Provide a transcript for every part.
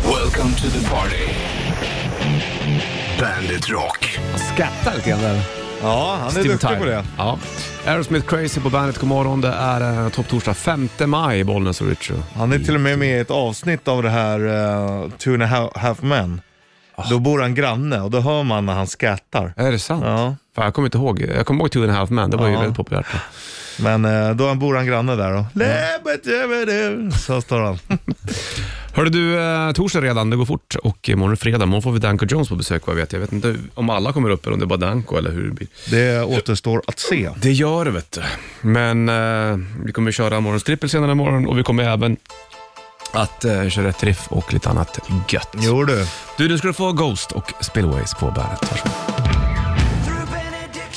Welcome to the party. Bandit Rock. Skrattar lite grann där. Ja, han är Steve duktig Tyler. på det. Ja. Aerosmith Crazy på bandet, god morgon. Det är eh, topptorsdag 5 maj i Bollnäs och Ritchie. Han är till och med med i ett avsnitt av det här eh, Two and a half, half Men. Då bor han granne och då hör man när han skrattar. Är det sant? Ja. Fan, jag kommer inte ihåg. Jag kommer ihåg Two and a half men, det var ju Ja. väldigt populärt. då. Men eh, då bor han granne där då. Läbbetjäbedum, Så står han. Hörde du, eh, torsdag redan, det går fort och imorgon är fredag. Imorgon får vi Danko Jones på besök vad jag vet. Jag vet inte om alla kommer upp eller om det är bara Danko eller hur det blir. Det återstår att se. Det gör det vet du. Men eh, vi kommer köra morgons trippel senare imorgon och vi kommer även att eh, köra ett riff och lite annat gött. Jo du. Du, nu ska du få Ghost och Spillways på bandet. Varsågod. Through benediction.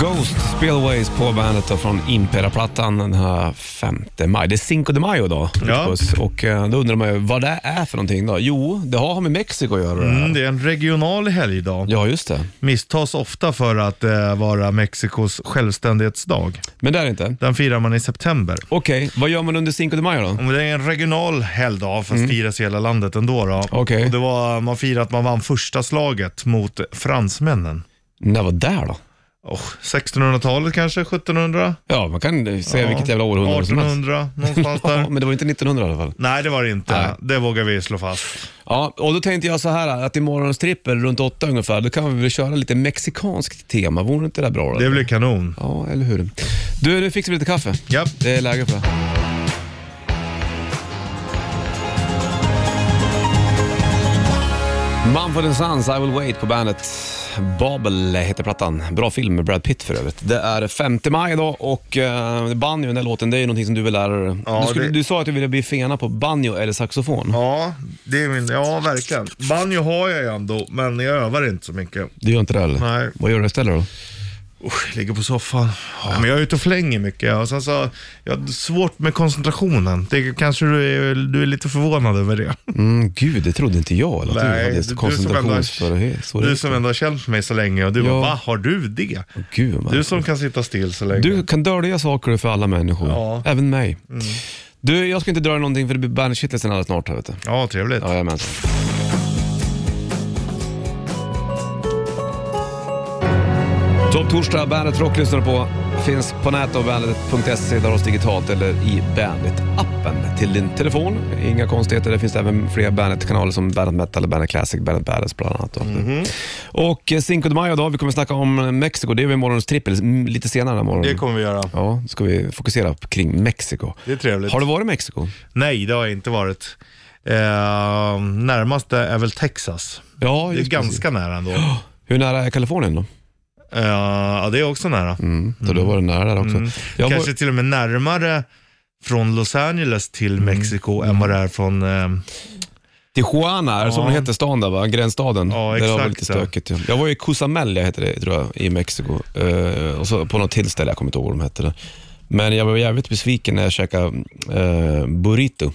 Ghost, Spillways på bandet då, från Impera-plattan den här 5 maj. Det är Cinco de Mayo då, Ja. förstås. Och eh, då undrar man ju vad det är för någonting då. Jo, det har med Mexiko att göra det här. Mm, det är en regional helgdag. Ja, just det. Misstas ofta för att eh, vara Mexikos självständighetsdag. Men det är det inte. Den firar man i september. Okej, vad gör man under Cinco de Mayo då? Ja, men Det är en regional helgdag, fast firas i hela landet ändå. Då. Mm. Okej. Och det var, man firar att man vann första slaget mot fransmännen. När var det då? Oh, 1600-talet kanske, 1700? Ja, man kan eh, säga vilket jävla århundrade som helst. 1800, någonstans Ja, där. men det var inte 1900 i alla fall. Nej, det var det inte. Nej. Det vågar vi slå fast. Ja, och då tänkte jag så här att i morgons trippel runt åtta ungefär, då kan vi väl köra lite mexikanskt tema. Vore inte det bra? Då? Det blir kanon. Ja, eller hur. Du, nu fixar vi lite kaffe. Japp. Det är läge för det. Mumford Sons, I will wait på bandet. Babel heter plattan. Bra film med Brad Pitt för övrigt. Det är 5 maj idag och eh, banjo, den där låten, det är ju någonting som du vill lära dig. Ja, du, skulle, det- du sa att du ville bli fena på banjo eller saxofon. Ja, det är min, ja, verkligen. Banjo har jag ju ändå, men jag övar inte så mycket. Du gör inte det eller? Nej. Vad gör du istället då? Usch, ligger på soffan. Ja, men jag är ute och flänger mycket. Och sen så, jag har svårt med koncentrationen. Det, kanske du är, du är lite förvånad över det. Mm, gud, det trodde inte jag. Eller att Nej, du du- du hade som ändå har- koncentrationssvårigheter. Du som ändå har känt mig så länge och du Ja. bara, va, har du det? Gud, vad Du som kan sitta still så länge. Du kan dölja saker för alla människor, Ja. Mm. även mig. Du, jag ska inte dölja någonting för det blir bandet-shitlisten alldeles snart. här, Vet du. Ja, trevligt. Jajamensan. Topp torsdag, Bandet Rock lyssnar du på. Finns på nätet och bandet.se, där oss digitalt eller i Bandet-appen till din telefon. Inga konstigheter, det finns även fler Bandet-kanaler som Bandet Metal, Bandet Classic, Bandet Badass bland annat. då. Mhm. Och eh, Cinco de Mayo idag, vi kommer snacka om Mexiko. Det är väl morgonens trippel, mm, lite senare den här morgonen. Det kommer vi göra. Ja, då ska vi fokusera på- kring Mexiko. Det är trevligt. Har du varit i Mexiko? Nej, det har jag inte varit. Eh, närmaste är väl Texas. Ja, Det är just precis. ganska nära ändå. Hur nära är Kalifornien då? Eh, ja, det är också nära. Mm. Så du har varit nära där också. Jag var- Mm. Kanske till och med närmare från Los Angeles Mm. till Mexiko än vad det är från... Eh, Tijuana, är det som Ja. den heter stan där va? Gränsstaden. Ja, Där var det exakt, lite ja. stökigt. Ja. Jag var i Cozumel, jag heter det tror jag, i Mexiko. Eh, och så på något till ställe, jag kommer inte ihåg vad de hette. Det. Men jag var jävligt besviken när jag käkade eh, burrito.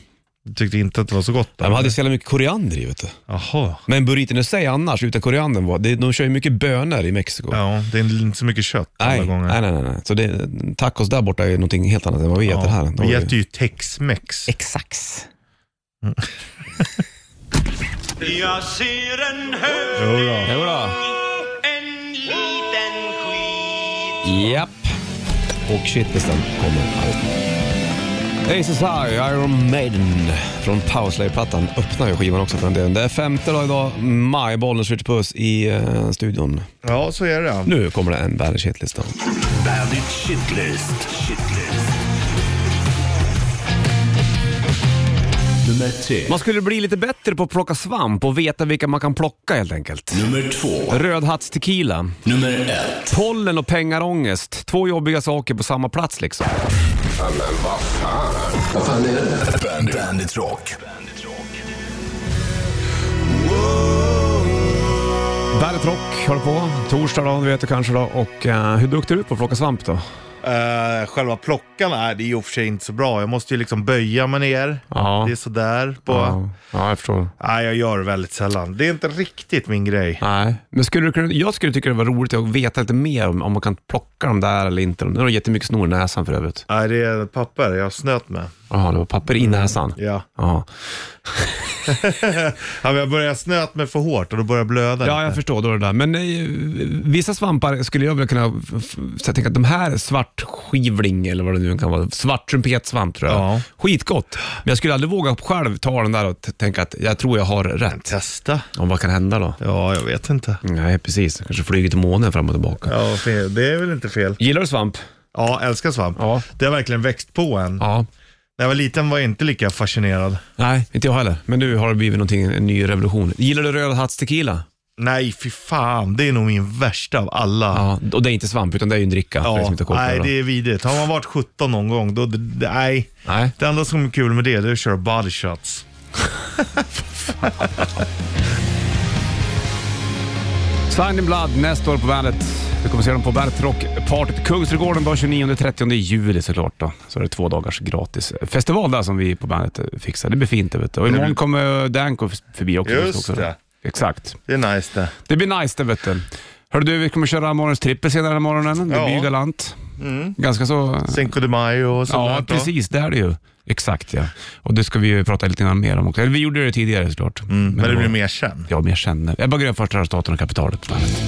tyckte inte att det var så gott. De hade så jävla mycket koriander i vet du. Jaha. Men burriton i sig annars, utan koriandern, var, det- de kör ju mycket bönor i Mexiko. Ja, det är inte så mycket kött alla Nej, gånger. nej, nej, nej, nej. Så det, tacos där borta är ju någonting helt annat än vad vi äter här. De har Vi ju- äter ju Tex-Mex. Exakt. Jag ser en hög, Jodå. Jodå. en liten skit Japp. Och shitlisten kommer här. Ace is High, Iron Maiden från Powerslayer-plattan. Öppnar ju skivan också för den delen. Det är femte dag idag, maj, Bollnäs Ritchie Puss i eh, studion. Ja, så är det. Nu kommer det en världens shitlista. Bandit Shitlist. Shitlist. Nummer tre. Man skulle bli lite bättre på att plocka svamp och veta vilka man kan plocka helt enkelt. Nummer två. Rödhatts tequila, Nummer ett. pollen och pengarångest. Två jobbiga saker på samma plats liksom. Bandit, Bandit Rock. Bandet Rock håller på. Torsdag då, du vet du kanske då. Och eh, hur duktig är du på att plocka svamp då? Eh, själva plockarna, är det är ju i och för sig inte så bra. Jag måste ju liksom böja mig ner. Ja. Det är sådär. På... Ja, ja, jag förstår. Nej, jag gör det väldigt sällan. Det är inte riktigt min grej. Nej, men skulle du kunna, jag skulle tycka det var roligt att veta lite mer om, om man kan plocka dem där eller inte. Nu har du jättemycket snor i näsan för övrigt. Nej, det är papper jag har snöt med. Jaha, det var papper i näsan. Ja. Ja. Ja, men jag började snöt med för hårt och då började jag blöda. ja, jag förstår då det där. Men eh, vissa svampar skulle jag väl kunna, f- f- så jag tänker att de här svartskivling eller vad det nu kan vara, svart trumpetsvamp tror jag. Ja. Skitgott, men jag skulle aldrig våga själv ta den där och t- tänka att jag tror jag har rätt. Testa. Om vad kan hända då? Ja, jag vet inte. Nej, precis. Kanske flyger till månen fram och tillbaka. Ja, fe- det är väl inte fel. Gillar du svamp? Ja, älskar svamp. Ja. Det har verkligen växt på en. Ja. När jag var liten var jag inte lika fascinerad. Nej, inte jag heller. Men nu har det blivit någonting, en ny revolution. Gillar du röd hats tequila? Nej, fy fan. Det är nog min värsta av alla. Ja. Och det är inte svamp, utan det är ju en dricka. för dig som inte har koll på nej, det... det är vidrigt. Har man varit 17 någon gång, då, d- d- nej. Nej. Det enda som är kul med det, det är att köra body shots. Sign in Blood nästa år på Bandet. Du kommer se dem på Bandet Rockpartyt Kungsträdgården den 29-30 juli såklart. Då. Så är det två dagars gratis festival där som vi på Bandet eh, fixar. Det blir fint. det Vet du. Och imorgon kommer Danko förbi också. Just också. det. Exakt. Det är nice det. Det blir nice det vet du. Hörru du, vi kommer köra morgonens trippel senare den här morgonen. Det Ja. blir ju galant. Ganska så... Cinco de Mayo och sånt Ja, där då. precis. Det är det ju. Exakt ja. Och det ska vi ju prata lite grann mer om också. Eller vi gjorde det tidigare såklart. Mm, Men, det var- blir mer sen. Ja, men jag känner. Ebba Grön, första staten och kapitalet. på bandet.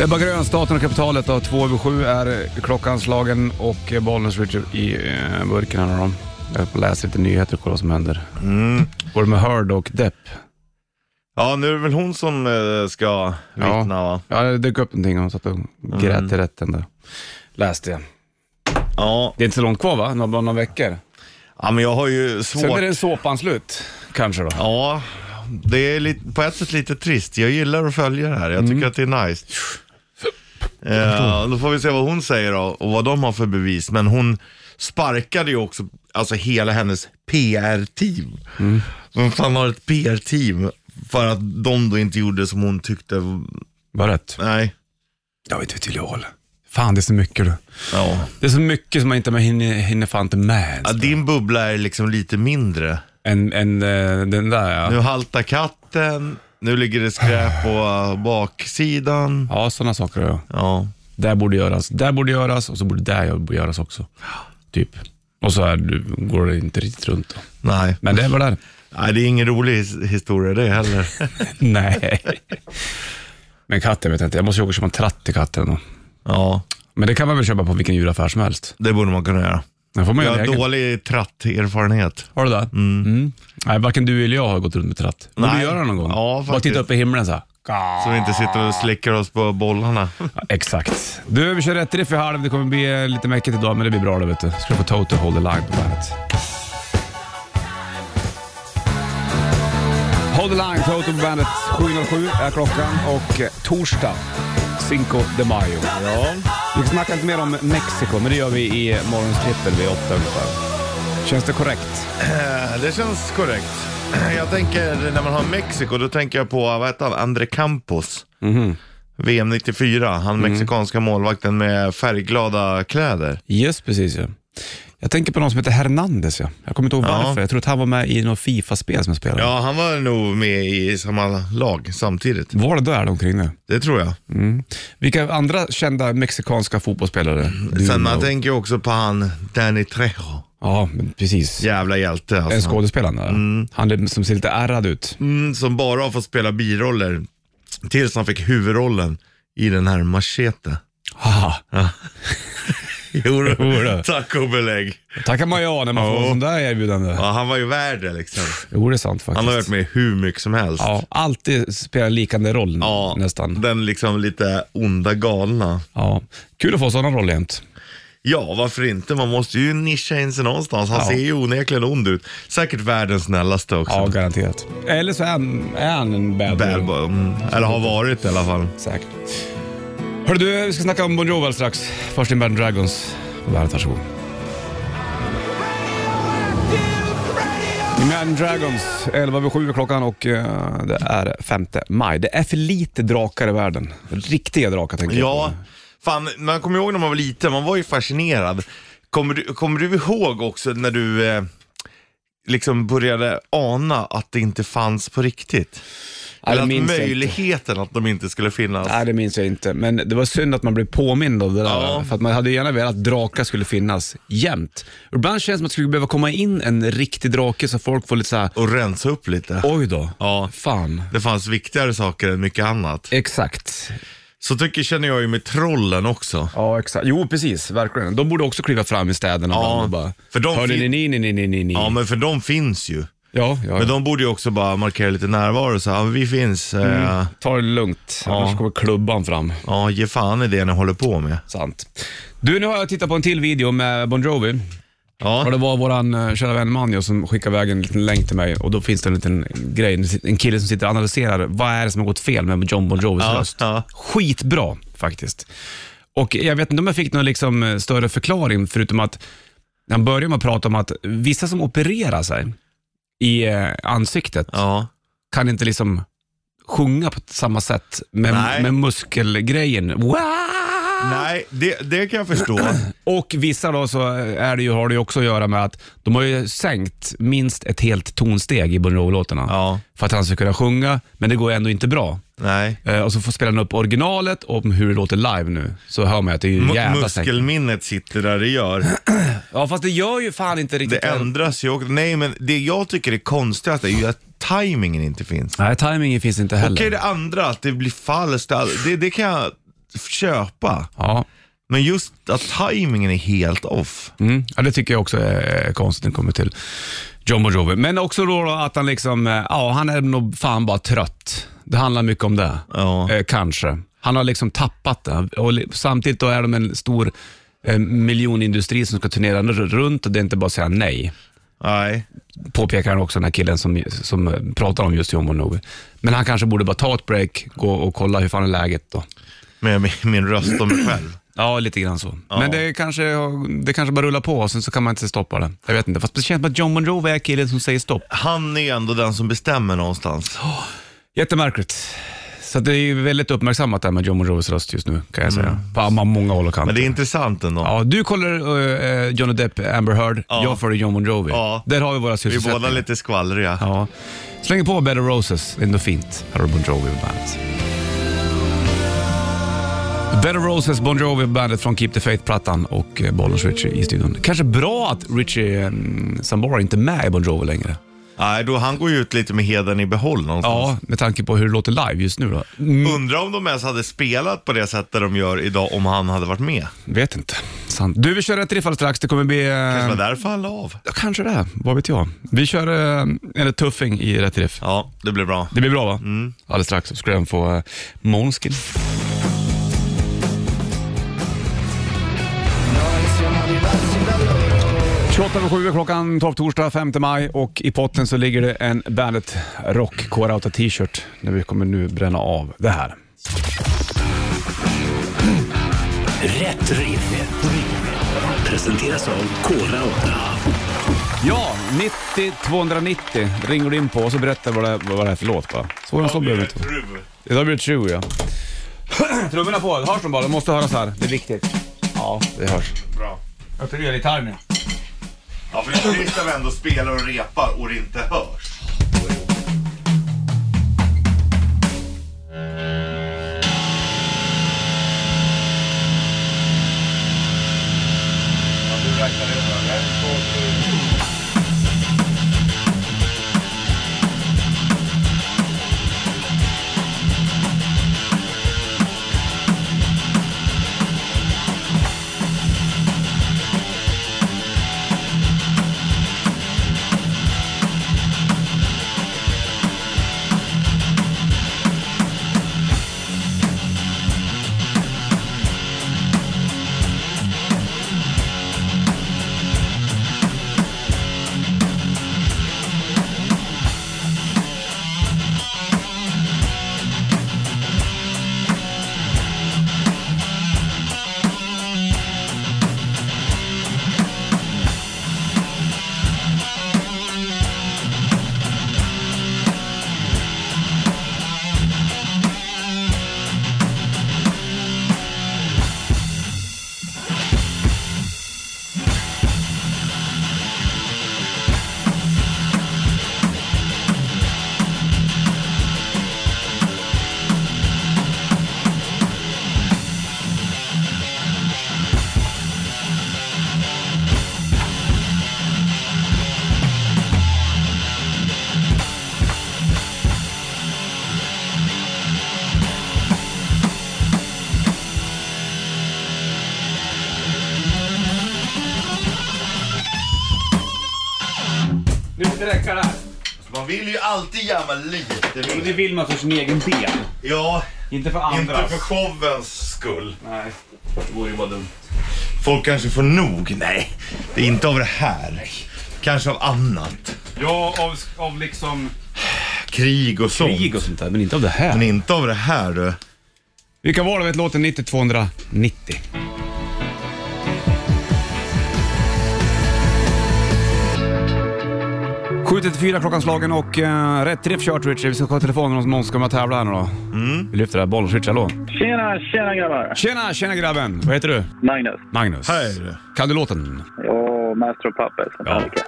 Ebba Grön, Staten och kapitalet, då, två över sju är eh, klockanslagen och eh, Bollnäs Richard i eh, burken. Här har de. Jag höll på att läsa lite nyheter och kolla vad som händer. Mm. Går det med Heard och Depp? Ja, nu är det väl hon som eh, ska vittna va? Ja, det dök upp någonting och hon satt och grät i rätten där. Läste jag. Ja. Det är inte så långt kvar va? Några, bara några veckor. ja, men jag har ju Sen svårt. är det såpan slut, kanske då. Ja, det är lite, på ett sätt lite trist. Jag gillar att följa det här. Jag tycker att det är nice. Eh, då får vi se vad hon säger då och vad de har för bevis. Men hon sparkade ju också alltså hela hennes PR-team. Som fan har ett PR-team för att de då inte gjorde som hon tyckte. Var rätt. Nej. Jag vet inte till jag håller. Fan, det är så mycket du. Ja. Det är så mycket som man inte man hinner, hinner fan inte med ens. Ja, din bubbla är liksom lite mindre. än, än eh, den där ja. Nu haltar katten, nu ligger det skräp på eh, baksidan. Ja, sådana saker ja. Ja. Där borde göras, där borde göras och så borde där jag- göras också. Typ. Och så är, du, går det inte riktigt runt då. Nej. Men det är väl där. Nej, det är ingen rolig his- historia det heller. Nej. Men katten vet jag inte. Jag måste ju åka och köpa en tratt till katten. då. ja, Men det kan man väl köpa på vilken djuraffär som helst. det borde man kunna göra. Den får man Jag göra har egen. dålig tratt-erfarenhet. Har du det? Mm. Nej, varken du eller jag har gått runt med tratt. Borde Nej. du göra det någon gång? Ja, Bara faktiskt. titta upp i himlen så här. Så vi inte sitter och slickar oss på bollarna. Ja, Exakt. Du, vi kör rätt riff i halv. Det kommer bli eh, lite mäckigt idag, men det blir bra det vet du. Ska du få Toto Hold the Line på bandet. Hold the Line, Toto på bandet. 7.07 är klockan och eh, torsdag, Cinco de Mayo. Ja. Vi snackar inte mer om Mexiko, men det gör vi i morgons trippel vid åtta ungefär. Känns det korrekt? Eh, Det känns korrekt. Jag tänker, när man har Mexiko, då tänker jag på, vad heter han, André Campos. VM 94, han mexikanska målvakten med färgglada kläder. Yes, precis ja. Jag tänker på någon som heter Hernandez ja. Jag kommer inte ihåg Ja. varför. Jag tror att han var med i något Fifa-spel som jag spelade. Ja, han var nog med i samma lag samtidigt. Var det där omkring nu? Det tror jag. Vilka andra kända mexikanska fotbollsspelare? Du Sen man och- tänker jag också på han Danny Trejo. Ja, men precis. Jävla hjälte En alltså. skådespelare. Mm. Han är- som ser lite ärrad ut. Mm, som bara har fått spela biroller tills han fick huvudrollen i den här Machete. Haha. Jo, du. du. tack och belägg. Tackar man ja när man får Ja. en sån där erbjudande. Ja, han var ju värd det liksom. Jo, det är sant faktiskt. Han har varit med hur mycket som helst. Ja, alltid spelar likande roll Ja, nästan. Den liksom lite onda galna. Ja. Kul att få sådana roller jämt. Ja, varför inte? Man måste ju nischa in sig någonstans. Han Ja. ser ju onekligen ond ut. Säkert världens snällaste också. Ja, garanterat. Eller så är han, är han en bad, boy. Bad boy. Mm, Eller har varit i alla fall. Säkert. Hörru du, vi ska snacka om Bon Jovi alldeles strax. Först in Band Dragons. Varsågod. Radio. Imagine Dragons, 11 över 7 är klockan och eh, det är 5 maj. Det är för lite drakar i världen. Riktiga drakar tänker Ja, fan, man kommer ihåg när man var liten, man var ju fascinerad. Kommer du, kommer du ihåg också när du eh, liksom började ana att det inte fanns på riktigt? jag. Eller det att minns jag inte. möjligheten att de inte skulle finnas. Nej, det minns jag inte. Men det var synd att man blev påmind om det där. Ja. För att man hade gärna velat att drakar skulle finnas jämt. Och Ibland känns det som att det skulle behöva komma in en riktig drake så folk får lite såhär, Och rensa upp lite. oj då, Ja. fan. Det fanns viktigare saker än mycket annat. Exakt. Så tycker känner jag ju med trollen också. Ja, exakt. Jo, precis. Verkligen. De borde också kliva fram i städerna Ja, ibland och bara, för de hörde ni, fin- ni, ni, ni, ni, ni, ni. Ja, men för de finns ju. ja, ja. Men ja. de borde ju också bara markera lite närvaro så här, ja, men vi finns. Eh, Ta det lugnt, annars kommer klubban fram. ja, ge fan i det ni håller på med. Sant. Du, nu har jag tittat på en till video med Bon Jovi. Ja, Ja, det var våran eh, kära vän Manjo som skickade iväg en liten länk till mig och då finns det en liten grej, en kille som sitter och analyserar vad är det som har gått fel med John Bon Jovis Ja, röst. ja. Skitbra faktiskt. Och jag vet inte om jag fick någon liksom eh, större förklaring förutom att han börjar med att prata om att vissa som opererar sig i eh, ansiktet ja. kan inte liksom sjunga på samma sätt med, Nej. med muskelgrejen. Wow! Nej, det, det kan jag förstå. Och vissa då så är det ju, har det ju också att göra med att de har ju sänkt minst ett helt tonsteg i Bon Jovi-låtarna Ja. för att han ska kunna sjunga, men det går ändå inte bra. Nej. Eh, och så får spelaren upp originalet om hur det låter live nu, så hör man ju att det är ju M- jävla sänkning. muskelminnet sitter där det gör. Ja, fast det gör ju fan inte riktigt Det ändras ju också. Nej, men det jag tycker är konstigast är ju att tajmingen inte finns. Nej, tajmingen finns inte heller. Okej, det andra, att det blir falskt, all- det, det kan jag köpa. Ja. Men just att tajmingen är helt off. Mm. ja, det tycker jag också är konstigt när det kommer till John Bon Jovi. Men också då, då att han liksom, eh, ja han är nog fan bara trött. Det handlar mycket om det, Ja. eh, kanske. Han har liksom tappat det och li- samtidigt då är de en stor eh, miljonindustri som ska turnera r- runt och det är inte bara att säga nej. Nej. Påpekar han också den här killen som, som eh, pratar om just John Bon Jovi. Men han kanske borde bara ta ett break, gå och kolla hur fan är läget då. Med min, min röst och mig själv. Ja, lite grann så. Men det kanske, det kanske bara rullar på och sen så kan man inte stoppa det. Jag vet inte, fast det känns som att John Monroe är killen som säger stopp. Han är ändå den som bestämmer någonstans. Jättemärkligt. Så att det är ju väldigt uppmärksammat det här med John Monroes röst just nu, kan jag säga. På må- många håll och kanter. Men det är intressant ändå. Ja, du kollar eh, Johnny Depp, Amber Heard. Jag följer John Monroe. Ja. Där har vi våra Vi är sysselsättningar. båda lite skvallriga. Ja. Slänger på Better Roses, det är ändå fint. Här har du Bon Jovi på bandet. Better Roses, Bon Jovi på bandet från Keep the Faith-plattan och eh, Bollens Richie i studion. Kanske bra att Richie mm, Sambora inte är med i Bon Jovi längre. Nej, då han går ju ut lite med heden i behåll någonstans. Ja, med tanke på hur det låter live just nu då. Mm, Undrar om de ens hade spelat på det sättet de gör idag om han hade varit med. vet inte. Sant. Du, vi kör ett riff alldeles strax. Det kommer bli... eh, Kanske var därför han la av. ja, Kanske det, här. vad vet jag. Vi kör eh, en tuffing i rätt riff. Ja, det blir bra. Det blir bra va? Alldeles strax så ska den få uh, Måneskin. över sju är klockan, 12 torsdag 5 maj och i potten så ligger det en Bandet Rock Core t-shirt när vi kommer nu bränna av det här. Rätt riff. Presenteras av Kora 8. Ja, 90 290 ringer du in på och så berättar vad det, vad det är för låt bara. Svårare än så behöver det inte vara. Idag blir det true ja. Trummorna på, hörs de bara? De måste höras här. Det är viktigt. Ja, det hörs. Bra. Jag tar ner gitarren nu. Ja, för det är trist när vi ändå spelar och repar och det inte hörs. inte räcka det här. Man vill ju alltid jävla lite Jo, det mer. vill man för sin egen del. Ja, Inte för inte andras. för showens skull. Nej, det vore ju bara dumt. Folk kanske får nog. Nej, det är inte av det här. Kanske av annat. Ja, av, av liksom... Krig och sånt. Krig och sånt där, men inte av det här. Men inte av det här du. Vilka var det? Vet låten 90 290. fyra klockan slagen och eh, rätt träff kört Richard. Vi ska ta telefonen hos Måns ska med och tävla här nu då. Mm. Vi lyfter det här bollen. Richard, hallå. Tjena, tjena grabbar. Tjena, tjena grabben. Vad heter du? Magnus. Magnus. Hej du. Kan du låten? Ja, Master of Puppets. Ja. Ja.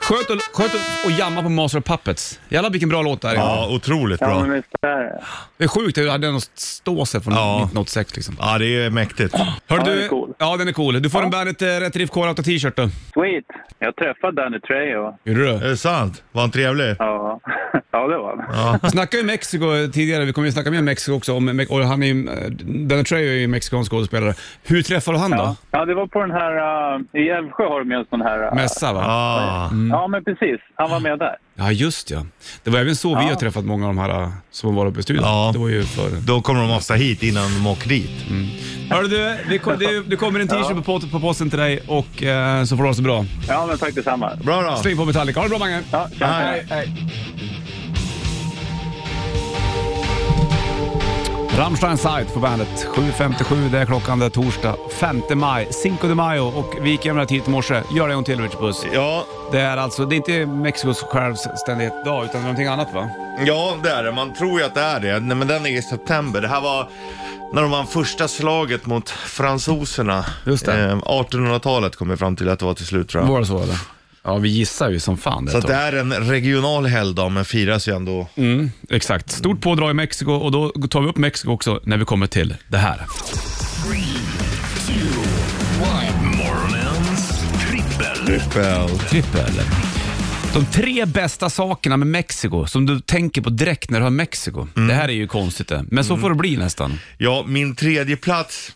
Sköt och, sköt och, och jamma på Master of Puppets. Jävlar vilken bra låt det här är. Ja, otroligt ja, bra. men visst är det. Det är sjukt, det hade någon ståse från Ja. 1986 liksom. Ja, det är mäktigt. Hör Ja, du, den är cool. Ja, den är cool. Du får en Bandet eh, Rätt Riff Core Auto t-shirt då. Sweet. Jag träffade Danny Trejo. Gjorde du det? Är det sant? Var han trevlig? Ja, ja det var han. Vi snackade ju Mexiko tidigare, vi kommer ju snacka mer om Mexiko också. Om, Mex- och han är ju, eh, Danny Trejo är ju mexikansk skådespelare. Hur träffade du han då? Ja, det var på den här... eh, I Älvsjö har de ju en sån här... eh, Mässa va? Ja. Ah, Ja, men precis. Han var med där. just ja. Det var även så vi har träffat många av de här eh, som var uppe i studion. Ja. Det var ju för... då kommer de ofta hit innan de åker dit. Hörru du, det, kom, det, det kommer en t-shirt på, på posten till dig och eh, så får du ha det så bra. Ja, men tack detsamma. Bra då. Släng på Metallica. Ha det bra Mange. Ja, tjena. Hej. Rammstein Sight på bandet. 7.57, det är klockan, det är torsdag 5 maj, Cinco de Mayo och vi gick igenom det här tidigt i morse. Gör det en gång till Richard Puss. Ja, Det är alltså, det är inte Mexikos självständighetsdag utan någonting annat va? ja, det är det. Man tror ju att det är det. Nej, men den är i september. Det här var när de vann första slaget mot fransoserna. Just det. Eh, 1800-talet kom vi fram till att det var till slut tror jag. Var det så eller? Ja, vi gissar ju som fan. Så Det att det är en regional helgdag men firas ju ändå. Exakt. Stort pådrag i Mexiko och då tar vi upp Mexiko också när vi kommer till det här. Morgonens trippel. Väl. Trippel. De tre bästa sakerna med Mexiko som du tänker på direkt när du hör Mexiko. Mm. Det här är ju konstigt det, men så får det bli nästan. Ja, min tredje plats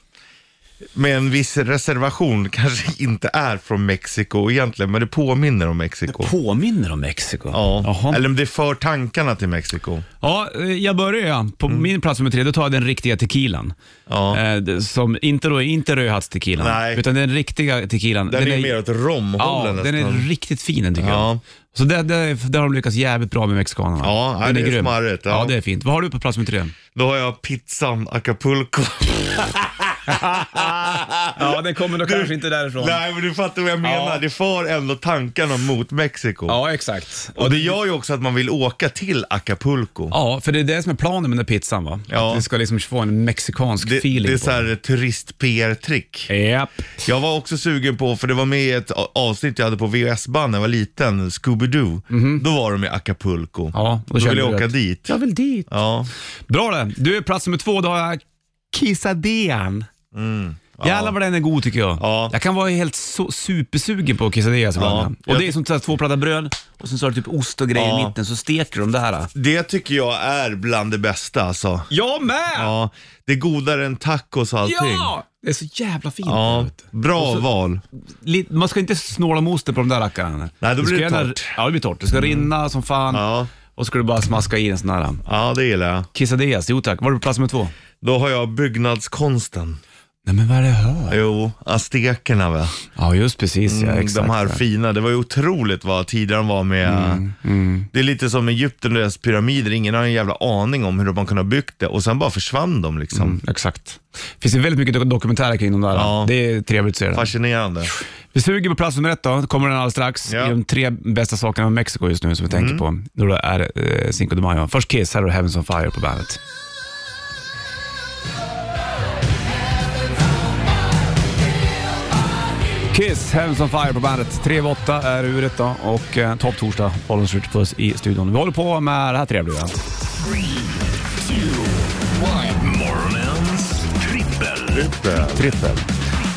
med en viss reservation kanske inte är från Mexiko egentligen, men det påminner om Mexiko. Påminner om Mexiko? Ja, Jaha. eller om det för tankarna till Mexiko. Ja, eh, jag börjar ja. På min plats nummer tre, då tar jag den riktiga tequilan. Mm. Ja. Eh, det- Som inte, då, inte rödhattstequilan, Nej. utan den riktiga tequilan. Den, är ju mer åt Ja, romhållen den är nästan. riktigt fin den tycker Ja. jag. Så där, där, där har de lyckats jävligt bra med mexikanerna. Ja, nej, den det är smarrigt, Ja. ja. det är fint. Vad har du på plats nummer tre? Då har jag pizzan Acapulco. Ja, den kommer då kanske inte därifrån. Nej, men du fattar vad jag menar. Ja. Det för ändå tankarna mot Mexiko. Ja, exakt. Och det gör ju också att man vill åka till Acapulco. Ja, för det är det som är planen med den där pizzan va? Ja. Att det ska liksom få en mexikansk Det, feeling det är på så här turist-PR-trick. den. Japp. Jag var också sugen på, för det var med i ett a- avsnitt jag hade på VHS-band när jag var liten, Scooby-Doo. Då var de i Acapulco. Mhm. Ja, då då kände ville jag du åka att- dit. Jag vill dit. Ja. Bra det. Du är plats nummer två, då har jag quesadillan. Jävlar vad den är god tycker jag. Mm. Ja. Jag kan vara helt so- supersugen på quesadillas ibland. Ja. Och det är som så här två plattor bröd och sen så har du typ ost och grejer i Ja. mitten så steker de det här. Det tycker jag är bland det bästa alltså. Jag med! Ja, det är godare än tacos och allting. Ja! Det är så jävla fint. Ja, vet du. bra val. Li- Man ska inte snåla med osten på de där rackarna. Nej, då Du ska blir det gärna- torrt. Mm. Ja, det blir torrt. Det ska rinna som fan Ja. och så ska du bara smaska i en sån här. Ja, det gillar jag. Quesadillas, jo tack. Var du på plats nummer två? Då har jag byggnadskonsten. Nej men vad är det jag hör? Jo, aztekerna va? Ja just precis ja, Mm, Mm, exakt. de här fina, det var ju otroligt vad tidigare de var med. Det är lite som Egypten och deras pyramider, ingen har en jävla aning om hur man kunde ha byggt det och sen bara försvann de liksom. Mm. Exakt. Det finns ju väldigt mycket do- dokumentärer kring de där. Ja. Det är trevligt att se. Det. Fascinerande. Vi suger på plats nummer ett då. Kommer den alldeles strax. Ja. I de tre bästa sakerna med Mexiko just nu som vi tänker på. Då det är eh, Cinco de Mayo. Först Kiss, här har du Heavens on Fire på bandet. Kiss, Heavens on Fire på bandet. 3 av 8 är uret då och eh, topp torsdag. Bollens Ritchie Puss i studion. Vi håller på med det här trevliga. Morgonens trippel. Trippel.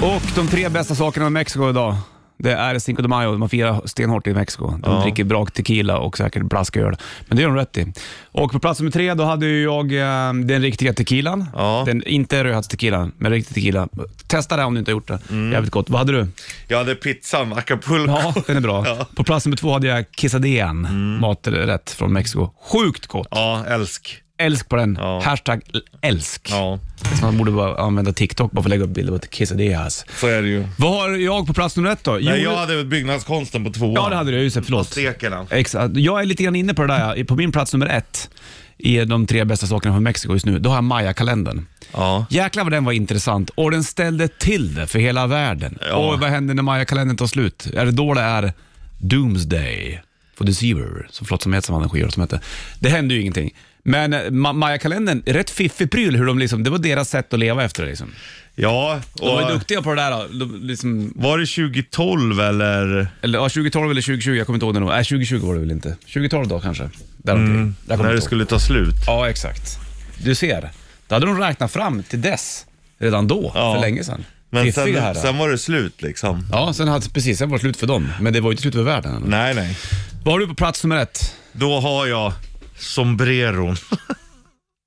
Och de tre bästa sakerna med Mexiko idag. Det är Cinco de Mayo, man firar stenhårt i Mexiko. De dricker bra tequila och säkert blasköl. Men det gör de rätt i. Och på plats nummer tre, då hade ju jag eh, den riktiga tequilan. Ja. Den, inte rödhattstequilan, men riktig tequila. Testa det om du inte har gjort det. Jävligt gott. Vad hade du? Jag hade pizzan, Acapulco. Ja, den är bra. Mm. Ja. Mm. På plats nummer två hade jag quesadillan, maträtt från Mexiko. Sjukt gott. Ja, älsk. Älsk på den. Ja. Hashtag älsk. Ja, Så man borde bara använda TikTok bara för att lägga upp bilder på quesadillas. så är det ju. Vad har jag på plats nummer ett då? Nej, Jo, jag hade byggnadskonsten på tvåan. Ja, det hade du. Just det, förlåt. Stekarna. Exakt. Jag är lite grann inne på det där. ja. På min plats nummer ett i de tre bästa sakerna från Mexiko just nu, då har jag Maya-kalendern. Ja. Jäklar vad den var intressant och den ställde till det för hela världen. Ja. Och vad händer när Maya-kalendern tar slut? Är det då det är Doomsday for Deceiver, så flott som heter som han skivor som hette. Det hände ju ingenting. Men eh, Ma- Maya-kalendern, rätt fiffig pryl hur de liksom, det var deras sätt att leva efter det liksom. Ja, De var ju och duktiga på det där då. De, liksom, var det 2012 eller? eller, ja, 2012 eller 2020, jag kommer inte ihåg det. nog. Nej, 2020 var det väl inte. 2012 då kanske. Där omkring. Jag kommer Mm. När det inte ihåg. skulle ta slut. Ja, exakt. Du ser. Då hade de räknat fram till dess, redan då, Ja. för länge sedan. Men Fiffiga sen, herrar. sen var det slut liksom. Ja, sen hade, precis, sen var det slut för dem. Men det var ju inte slut för världen. än. Nej, nej. Vad har du på plats nummer ett? Då har jag sombreron.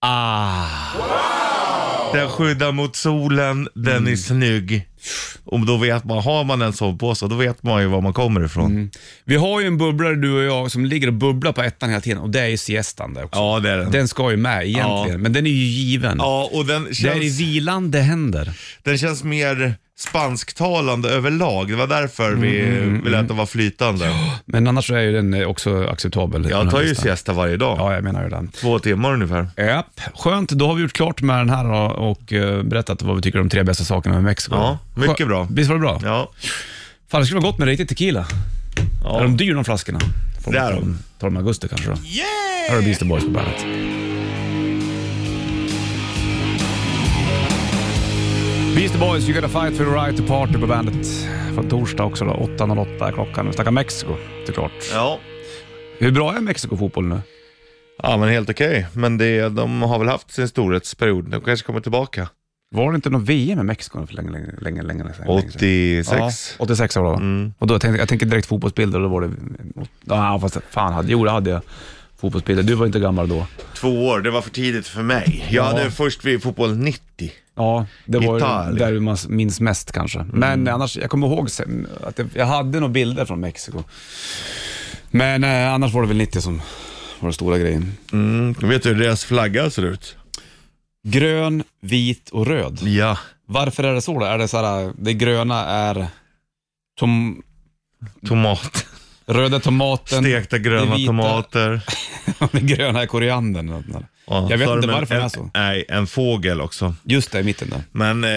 Ah, Den skyddar mot solen, den Mm. är snygg. Och då vet man, har man en sovpåse, då vet man ju var man kommer ifrån. Mm. vi har ju en bubblare du och jag som ligger och bubblar på ettan hela tiden och det är ju siestan där också. Ja, det är den. Den ska ju med egentligen, Ja. men den är ju given. Ja, och den Det är i känns, vilan det händer. den känns mer spansktalande överlag. Det var därför Mm, vi, vi lät den vara flytande. Men annars så är ju den eh, också acceptabel. Den Jag här tar ju listan. siesta varje dag. Ja, jag menar ju den. Två timmar ungefär. Japp, skönt. Då har vi gjort klart med den här då och eh, berättat vad vi tycker om de tre bästa sakerna med Mexiko. Ja, mycket Skö- bra. Visst var det bra? Ja, Fan, det skulle vara gott med riktigt tequila. Ja. Är de dyra de flaskorna? Får Det man är ta de. dem- Ta dem i augusti kanske då. Yeah! Här har du Beastie Boys på bandet. Beastie Boys, you gotta fight for your right to party på bandet. Från torsdag också då, 8.08 är klockan. Vi snackar Mexiko såklart. ja. Hur bra är Mexiko-fotboll nu? ja men helt okej. Men det, de har väl haft sin storhetsperiod. De kanske kommer tillbaka. Var det inte någon VM i Mexiko för länge, länge, länge, länge, länge sedan? 86. Ja, Mm. 86 var det va? Och då tänkte, jag tänkte direkt fotbollsbilder och då var det... Ja, fast fan, hade, jo det hade jag. Fotbollsbilder. Du var inte gammal då. Två år, det var för tidigt för mig. Jag Ja. hade först vid fotboll 90. Ja, det var ju Italien. där man minns mest kanske. Men annars, jag kommer ihåg sen att jag, jag hade några bilder från Mexiko. Men eh, annars var det väl 90 som var den stora grejen. Mm. Vet du hur deras flagga ser ut? Grön, vit och röd. Ja. Varför är det så då? Är det så här, det gröna är tom, Tomat. röda tomaten, Stekta gröna det vita- tomater. det gröna är koriandern. eller något sånt där. Ja, Jag vet så har inte de en- varför den är en- så. Nej, en fågel också. Just det, i mitten där. Men eh,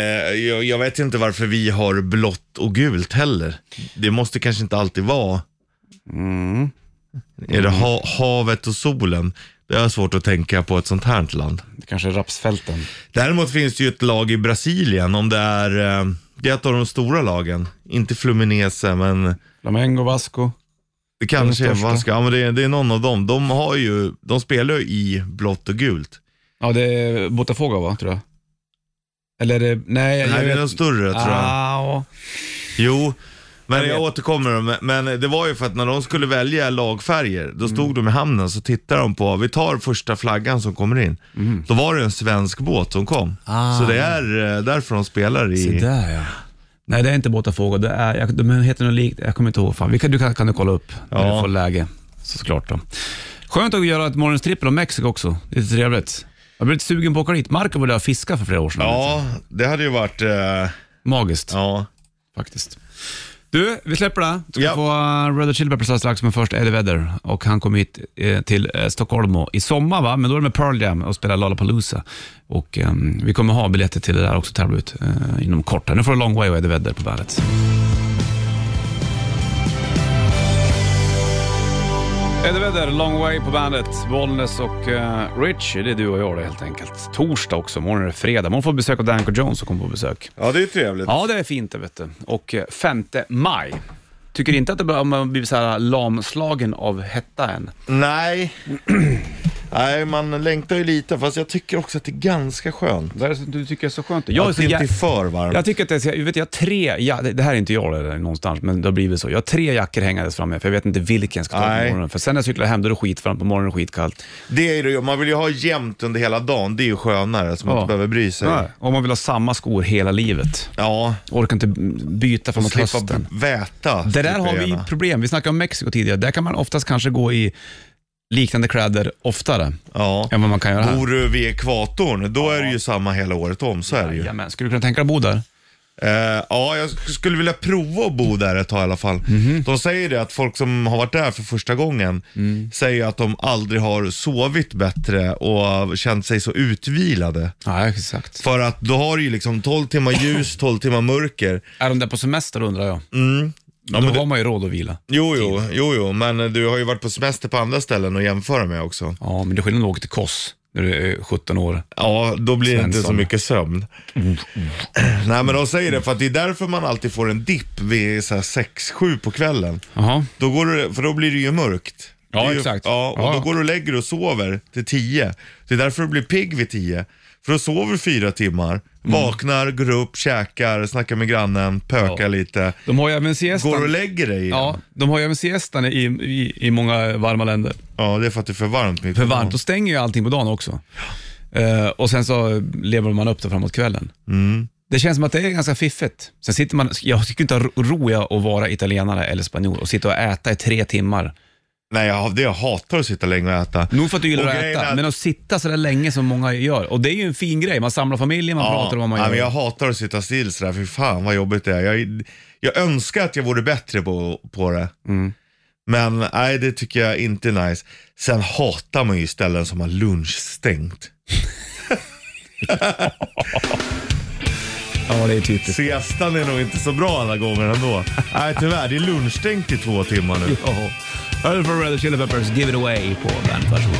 jag, jag vet inte varför vi har blått och gult heller. Det måste kanske inte alltid vara. Mm. Är det ha, havet och solen? Det är svårt att tänka på ett sånt här land. Det kanske är rapsfälten. Däremot finns det ju ett lag i Brasilien, om det är, eh, det är ett av de stora lagen. Inte Fluminense, men Flamengo, Vasco. det kanske är största. Vasco. Ja, men det, är- det är någon av dem. De, har ju, de spelar ju i blått och gult. Ja, det är Botafogo va, tror jag? Eller är det... Nej, jag Nej, det är de större tror jag. Ah, Jo, men jag, vet. återkommer. men- Men det var ju för att när de skulle välja lagfärger, då Mm. stod de i hamnen så tittade de på, vi tar första flaggan som kommer in. Då var det en svensk båt som kom. Mm. Ah. Så det är eh, därför de spelar Se i... där ja. Nej, det är inte Botafogo. Det är, jag, de heter något likt. Jag kommer inte ihåg. Fan. Vi kan, du kan, kan du kolla upp när Ja. du får läge. Så- Såklart då. Skönt att göra ett morgonens trippel om Mexiko också. Det är lite trevligt. Jag blev lite sugen på att åka dit. Marco var där och fiskade för flera år sedan. Ja, det hade ju varit... eh, Magiskt Ja. faktiskt. Du, vi släpper det. Du ska Ja. få uh, Red Hot Chili Peppers alldeles strax, men först Eddie Vedder. Och han kommer hit eh, till eh, Stockholm och- i sommar, va? men då är det med Pearl Jam och spelar Lollapalooza. Och, ehm, vi kommer ha biljetter till det där också, tävla ut eh, inom kort. här. Nu får du Long Way och Eddie Vedder på bandet. Eddie Vedder, Long Way på bandet. Bollnäs och eh, Rich, det är du och jag det helt enkelt. Torsdag också, imorgon är det fredag. Imorgon får vi besök av Danko Jones som kommer på besök. ja, det är trevligt. Ja, det är fint det vet du. Och eh, 5 maj. Tycker inte att det bör- man blivit så här lamslagen av hetta än? Nej, Nej, man längtar ju lite, fast jag tycker också att det är ganska skönt. Vad är det som du tycker är så skönt? Jag Jag, är att så det inte är jä- för varmt. jag tycker att det är, så- jag vet, jag har tre, ja, det det här är inte jag eller någonstans, men det har blivit så. Jag har tre jackor hängandes framme, för jag vet inte vilken jag ska ta Nej. på morgonen. För sen när jag cyklar hem, då är det skitvarmt, på morgonen är det skitkallt. Det är det ju, man vill ju ha jämnt under hela dagen, det är ju skönare så man Ja. inte behöver bry sig. Nej. Om man vill ha samma skor hela livet. Ja, Orkar inte byta från och mot slippa hösten. väta. typ Det där slipper har jag vi gärna. problem. Vi snackade om Mexiko tidigare. Där kan man oftast kanske gå i liknande kläder oftare Ja. än vad man kan göra här. Bor du vid ekvatorn, då är det ju samma hela året om, så är det ju. Jajamän. Skulle du kunna tänka dig att bo där? Eh, ja, jag sk- skulle vilja prova att bo där ett tag i alla fall. Mhm. De säger det att folk som har varit där för första gången Mm. säger att de aldrig har sovit bättre och känt sig så utvilade. Ja, exakt. För att då har du ju liksom 12 timmar ljus, 12 timmar mörker. Är de där på semester undrar jag? Mm. Ja, då men det- har man ju råd att vila. Jo, jo, jo, jo, men eh, du har ju varit på semester på andra ställen att jämföra med också. Ja, men det är skillnad att åka till Kos när du är 17 år. Ja, då blir det inte så Svensson. Mm. mycket sömn. Nej, men de säger det för att det är därför man alltid får en dipp vid 6-7 på kvällen. Jaha. Då går du, för då blir det ju mörkt. Ja, Det är ju, exakt. Ja, och Ja. då går du och lägger dig och sover till 10. Det är därför du blir pigg vid 10. För då sover du fyra timmar, Mm. vaknar, går upp, käkar, snackar med grannen, pökar lite. De har ju även Går och siestan. lägger dig igen. Ja, de har ju även siestan i, i, i många varma länder. ja, det är för att det är för varmt. mitt För på varmt, dagen. då stänger ju allting på dagen också. Eh, och sen så lever man upp det framåt kvällen. Mm. Det känns som att det är ganska fiffigt. Sen sitter man, jag tycker inte ro- ro jag att vara italienare eller spanjor och sitta och äta i tre timmar. Nej, jag, det jag hatar att sitta länge och äta. Nog för att du gillar Och att grejen är äta, att- men att sitta sådär länge som många gör. Och det är ju en fin grej, man samlar familjen, man pratar om vad man nej, gör. men jag hatar att sitta still sådär, för fan vad jobbigt det är. Jag, jag önskar att jag vore bättre på, på det. Mm. Men nej, det tycker jag inte är nice. Sen hatar man ju ställen som har lunchstängt. Ja, det är typiskt. Siestan är nog inte så bra alla gånger ändå. nej, tyvärr. Det är lunchstängt i två timmar nu. Oh. Earl for Red Chili Peppers, Give It Away på Bandet. Varsågod.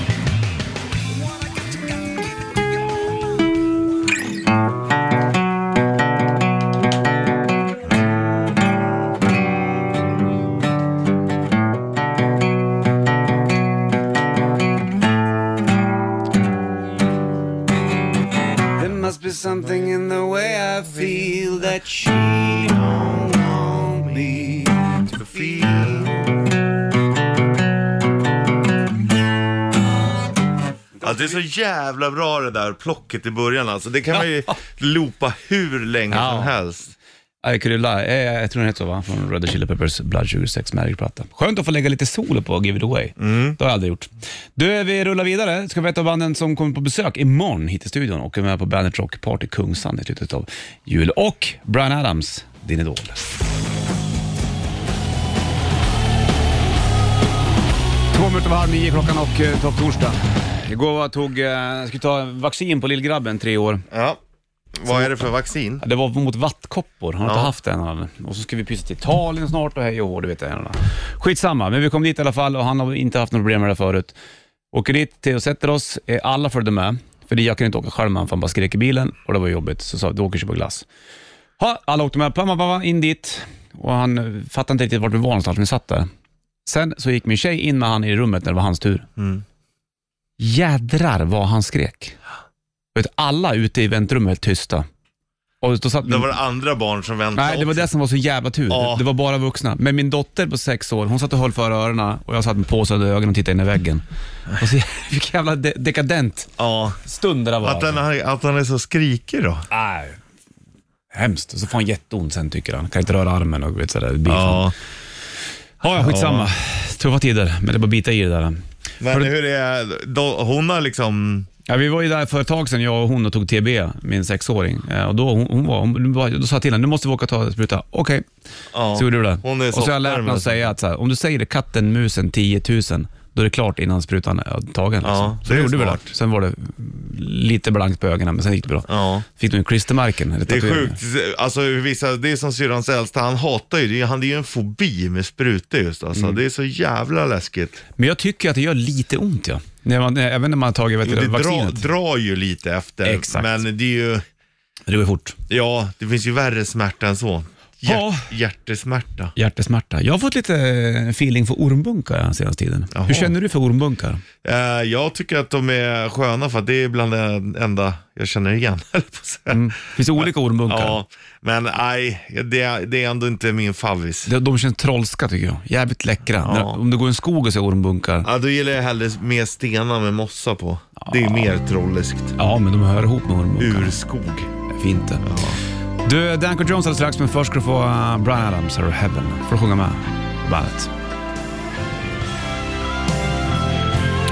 There must be something in the way I feel that she don't want me to feel. Ja, det är så jävla bra det där plocket i början alltså. Det kan man ju loopa hur länge Ja. som helst. I could lie. Eh, jag tror den heter så va? Från Red Hot Chili Peppers Blood Sugar Sex Magic-platta. Skönt att få lägga lite solo på Give It Away. Det har jag aldrig gjort. Du, vi rullar vidare. Ska vi veta banden som kommer på besök imorgon hit i studion och är med på Bandet Rock Party Kungsan i slutet av jul. Och Brian Adams, din idol. Två minuter över halv nio klockan och eh, topp torsdag. Igår var- tog, eh, skulle ta vaccin på lillgrabben, tre år. Ja. Vad är det för vaccin? Ja, Det var mot vattkoppor, han har inte haft en av Och så ska vi pyssa till Italien snart och hej och hå, du vet. det ena. Skitsamma, men vi kom dit i alla fall och han har inte haft några problem med det förut. Åker dit till och sätter oss, Eh, alla följde med. För det- jag kunde inte åka själv med han, för han bara skrek i bilen och det var jobbigt. Så sa vi, du åker och köper glass. Ha, alla åkte med, pam, pam, pam, in dit. Och han eh, fattade inte riktigt vart vi var någonstans, men vi satt där. Sen så gick min tjej in med han i rummet när det var hans tur. Mm. Jädrar vad han skrek. Vet, alla ute i väntrummet helt tysta. Och då satt Det min- var det andra barn som väntade Nej, det var det som var så jävla tur. Ja. Det var bara vuxna. Men min dotter på sex år, hon satt och höll för öronen och jag satt med påsade ögon och tittade in i väggen. Och så, vilken jävla de- dekadent Ja. stund det där var. Att han, att han är så skrikig då? Nej. Hemskt. Och så får han jätteont sen tycker han. Kan inte röra armen och vet sådär. Ja. ja, skitsamma. Tuffa tider, men det är bara att bita i det där. Men hur är då, Hon har liksom... Ja, vi var ju där för ett tag sedan, jag och hon, och tog TB, min sexåring. Eh, Och då, hon, hon var, hon, då sa jag till henne, nu måste vi åka och ta spruta. Okej. Ja, Så gjorde du det. Hon är alltså. och så har jag softare lärt mig med att säga att så här, om du säger det, katten, musen, 10 000, då är det klart innan sprutan är tagen. Liksom. Ja, så det det är gjorde vi smart. klart. Sen var det lite blankt på ögonen, men sen gick det bra. Ja. Fick du en klistermärken? eller Det är tatueringar. sjukt. Alltså, vissa, det är som syrrans äldsta, han hatar ju det. Han det är ju en fobi med sprutor just alltså. Mm. Det är så jävla läskigt. Men jag tycker att det gör lite ont, ja. När man, även när man har tagit vet Jo, du, det dra, vaccinet. drar ju lite efter. Exakt. Men det är ju, det går ju fort. ja, det finns ju värre smärta än så. Hjärt, Ja. Hjärtesmärta. Hjärtesmärta. Jag har fått lite eh, feeling för ormbunkar den senaste tiden. Jaha. Hur känner du för ormbunkar? Eh, jag tycker att de är sköna för att det är bland det enda jag känner igen. höll jag på att säga. Finns det olika ormbunkar? Ja, men nej, det, är- det är ändå inte min favvis. De, de känns trolska tycker jag. Jävligt läckra. När, om du går i en skog och ser ormbunkar. Ja, då gillar jag hellre mer stenar med mossa på. Det Ah. är mer trolliskt. Ja, men de hör ihop med ormbunkar. Urskog. Fint det. Du, Danko Jones alldeles strax, men först ska du få eh, Bryan Adams, här är Heaven. Får du sjunga med bandet.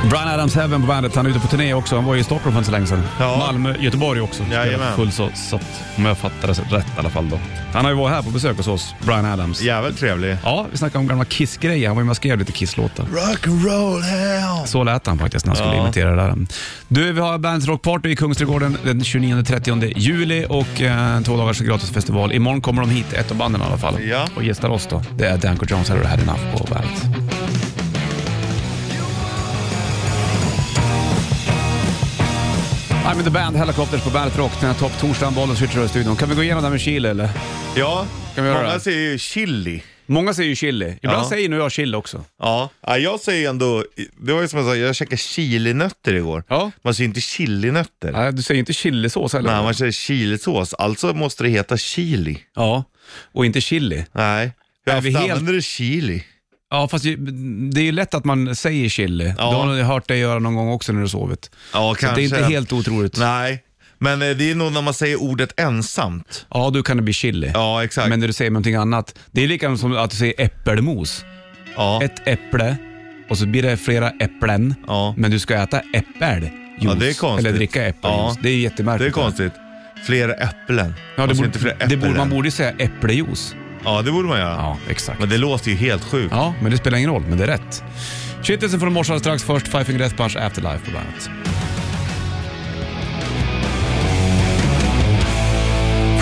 Bryan Adams Heaven på bandet. Han är ute på turné också. Han var ju i Stockholm för inte så länge sedan. Ja. Malmö, Göteborg också. Jajamän. Fullsatt, om jag fattar det rätt i alla fall då. Han har ju varit här på besök hos oss, Bryan Adams. Jävligt trevlig. Ja, vi snackade om gamla Kiss-grejer. Han var ju med och skrev lite Kiss-låtar. Rock'n'roll hell. Så lät han faktiskt när han skulle Ja. imitera det där. Du, vi har Bands Rockparty i Kungsträdgården den 29-30 juli och eh, två dagars gratisfestival. Imorgon kommer de hit, ett av banden i alla fall, Ja. och gästar oss då. Det är Danko Jones här och det här är Enough på Bandet. I'm in the band, Helicopters på Bandet Rock. Den här topptorsdagen, Bollens i studion. Kan vi gå igenom det här med chili eller? Ja, Kan vi göra många det? säger ju chili. Många säger ju chili. Ibland Ja. säger nu jag chili också. Ja. ja, jag säger ändå, det var ju som jag sa, jag käkade chilinötter igår. Ja. Man säger inte chilinötter. Nej, du säger inte chilisås heller. Nej, man säger chilisås. Alltså måste det heta chili. Ja, och inte chili. Nej. Hur Är ofta vi helt- använder du chili? Ja, fast ju- det är ju lätt att man säger chili. Ja. Det har jag hört dig göra någon gång också när du sovit. Ja, Så det är inte helt otroligt. Nej, men eh, det är nog när man säger ordet ensamt. Ja, då kan det bli chili. Ja, exakt. Men när du säger någonting annat. Det är likadant som att du säger äppelmos. ja. Ett äpple och så blir det flera äpplen. Ja. Men du ska äta äppeljuice. Ja, det är konstigt. Eller dricka äppeljuice. Ja. Det är det är jättemärkligt. konstigt. Flera äpplen. Ja, Man det säger borde, inte flera det borde, man äpplen. borde ju säga äpplejuice. Ja, det borde man göra. Ja, exakt. Men det låter ju helt sjukt. Ja, men det spelar ingen roll, men det är rätt. Kittelsen från morse strax först, Five Finger Death Punch Afterlife på bandet.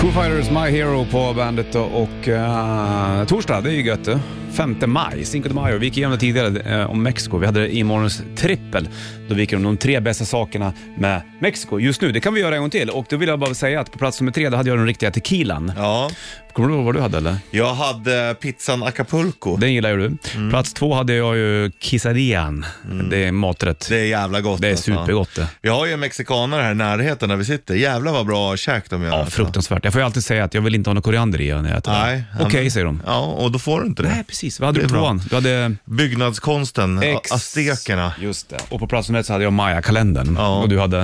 Foo Fighters My Hero på bandet då och eh, torsdag, det är ju gött det. 5 maj, Cinco de Mayo. Vi gick igenom det tidigare eh, om Mexiko. Vi hade det i morgons trippel. Då vi gick igenom de tre bästa sakerna med Mexiko just nu. Det kan vi göra en gång till och då vill jag bara säga att på plats nummer tre, där hade jag den riktiga tequilan. Ja, Kommer du ihåg vad du hade eller? jag hade eh, pizzan Acapulco. Det, Den gillar ju du. Mm. Plats två hade jag ju quesadillan. Det är maträtt. Det, är jävla gott. är alltså. supergott det. Vi har ju en mexikanare här i närheten där vi sitter. Jävlar vad bra käk de gör. Ja, alltså. fruktansvärt. Jag får ju alltid säga att jag vill inte ha någon koriander i när jag äter Nej. det. Okej, men- säger de. Ja, och då får du inte det. Nej, precis. Vad hade du Det är på bra. tvåan? Du hade... Byggnadskonsten, Ex- a- aztekerna, Just det. Och på plats nummer ett så hade jag Maya-kalendern. Ja. Och du hade...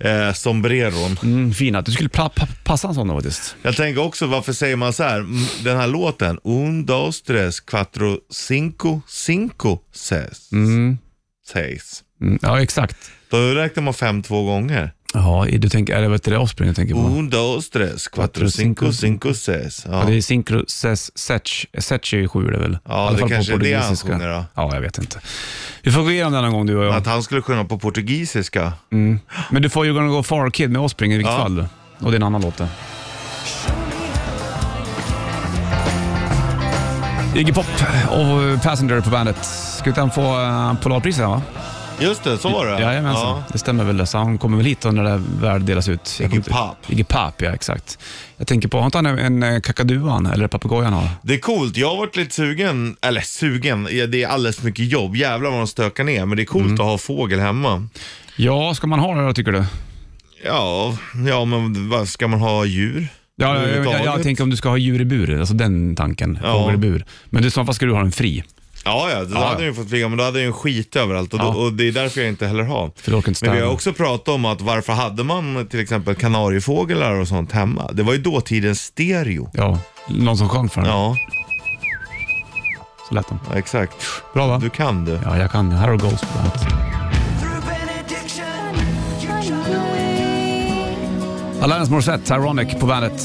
eh, sombreron. Mm, fina. Du skulle pla- pa- passa en sån då faktiskt. Jag tänker också, varför säger man så här? Mm, Den här låten, Un, dos, tres, cuatro, cinco, cinco, seis. Seis. Mm, ja, exakt. Då räknar man fem två gånger. Ja, i- du tänker... Är det, vet du, det är Offspring jag tänker på? Un, dos, tres, cuatro, cinco, cinco, seis. Ja. Ja. Det är Synchro Sech, Sech, Sech är ju sju det väl? Ja, I alla det fall på kanske är det han portugisiska. sjunger då. Ja, jag vet inte. Vi får gå igenom det någon gång du och jag. Att han skulle sjunga på portugisiska. Men du får ju Gonna Go Far Kid med Offspring i vilket Ja. fall. Och det är en annan låt det. Iggy Pop och Passenger på bandet. Ska inte han få eh, Polarpriset här, va? Just det, så var det. Jajamensan, det stämmer väl. det. Så han kommer väl hit då när det väl delas ut. Jag Iggy kommer inte- Pop. Iggy Pop, ja exakt. Jag tänker på, har inte han en- en eh, kakadua han, eller papegoja han har? Det är coolt, jag har varit lite sugen, eller sugen, ja, det är alldeles för mycket jobb. Jävlar vad de stökar ner, men det är coolt Mm. att ha fågel hemma. Ja, ska man ha det då tycker du? Ja, ja men vad ska man ha djur? Ja, jag, jag, jag, Överhuvudtaget? jag tänker om du ska ha djur i bur, alltså den tanken. Ja. Fågel i bur. Men du, i så fall ska du ha den fri. Ja, ja, då Ja, ja. hade den ju fått flyga, men då hade den ju skit överallt och, då, Ja. och det är därför jag inte heller har. För det orkar inte Men vi har städa. också pratat om att varför hade man till exempel kanariefåglar och sånt hemma? Det var ju dåtidens stereo. Ja, någon som sjöng för den. Ja, Så lät den. ja, exakt. Bra va? Du kan du. Ja, jag kan. Här har du Ghost på bandet. Through benediction, you Alanis Morissette, Tyronic på bandet.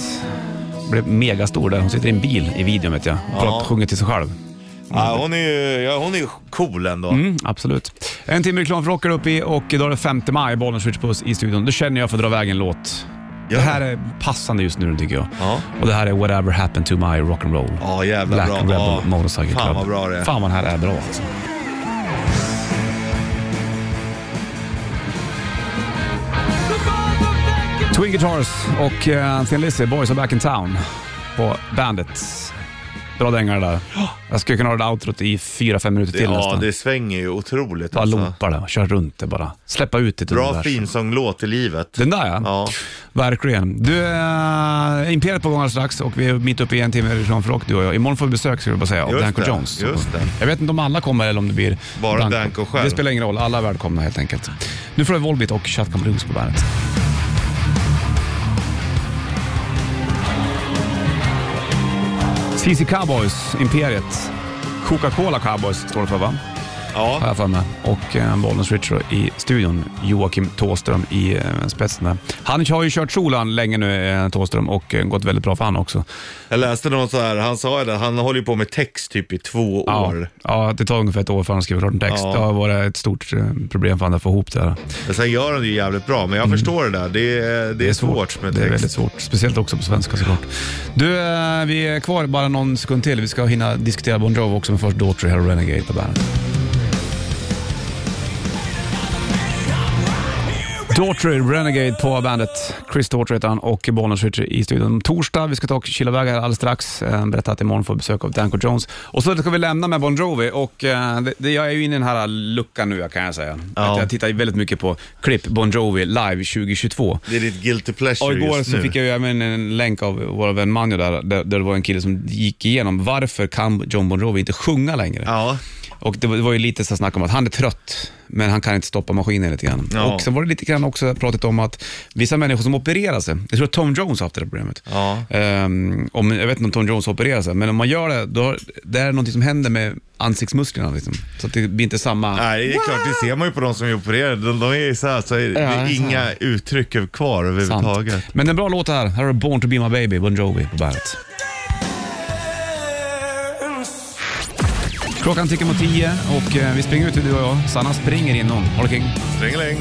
Blev megastor där. Hon sitter i en bil i videon vet jag. Och pratar- sjunger till sig själv. Ja, hon, är ju, ja, hon är ju cool ändå. Mm, absolut. En timme reklam för rockar upp i och idag är det 5 maj, Bollnäs Switch Puss i studion. Då känner jag för att dra iväg en låt. Det här är passande just nu tycker jag. Ja. Och det här är Whatever Happened To My Rock'n'Roll. Ja, jävla Black bra. Rebel Ja. Motorcycle Club. Fan, vad bra det är. Fan vad den här är bra alltså. eh, Twin Guitars och uh, Thin Lizzy, Boys Are Back In Town. på Bandit. Bra dängare där. Jag skulle kunna ha det där outrot i fyra fem minuter till Ja, nästan. det svänger ju otroligt. Bara Alltså. loopa det, kör runt det bara. Släppa ut det. till det Bra där. finsånglåt i livet. Den där ja. Ja. Verkligen. Du, äh, Imperiet på gång alldeles strax och vi är mitt uppe i en timme från rock du och jag. Imorgon får vi besök skulle jag bara säga av Just Danko det, Jones. just det. Jag vet inte om alla kommer eller om det blir Bara Danko själv. Det spelar ingen roll, alla är välkomna helt enkelt. Nu får du Volbeat och Shotgun Blues på bandet. CC Cowboys, Imperiet. Coca-Cola Cowboys står det för va? har Ja. jag för mig. Och eh, Bollnäs Richard i studion. Joakim Tåström i eh, spetsen där. Han har ju kört solan länge nu, eh, Tåström, och eh, gått väldigt bra för han också. Jag läste någon så här, han sa ju det, han håller ju på med text typ i två Ja, år. ja, det tar ungefär ett år för han att skriva klart en text. Ja. Det har varit ett stort eh, problem för han att få ihop det här. Men sen gör han det ju jävligt bra, men jag förstår det där. Det, är- det är svårt, med Mm. Det är väldigt text. svårt. Speciellt också på svenska såklart. Du, eh, vi är kvar bara någon sekund till. Vi ska hinna diskutera Bon Jovi också, men först Daughtry här och Renegade på bandet. Daughtry, Renegade på bandet. Chris Daughtry heter han och Bonus Richard i studion. Torsdag, vi ska ta och kila iväg här alldeles strax. Eh, Berätta att imorgon får vi besök av Danko Jones. Och så ska vi lämna med Bon Jovi och eh, det, det, jag är ju inne i den här luckan nu kan jag säga. Ja. Att jag tittar ju väldigt mycket på klipp Bon Jovi live 2022. Det är ditt guilty Och pleasure igår just så nu. fick jag ju även en länk av vår vän Manjo där, där, där det var en kille som gick igenom varför kan John Bon Jovi inte sjunga längre? Ja, Och det var, det var ju lite så snack om att han är trött, men han kan inte stoppa maskinen lite grann. Ja. Och sen var det lite grann också pratat om att vissa människor som opererar sig, jag tror att Tom Jones har haft det där problemet. Ja. Ehm, om, jag vet inte om Tom Jones opererar sig, men om man gör det, då har, det är någonting som händer med ansiktsmusklerna liksom. Så att det blir inte samma... nej det är klart, det ser man ju på de som är opererade. De, de är ju så här, så är, det det är är så inga uttryck kvar Sant. överhuvudtaget. Men en bra låt här. Här har du Born to be my baby, Bon Jovi på bandet. Klockan tickar mot tio och eh, vi springer ut du och jag. Sanna springer in någon. Håll king. Stringeling!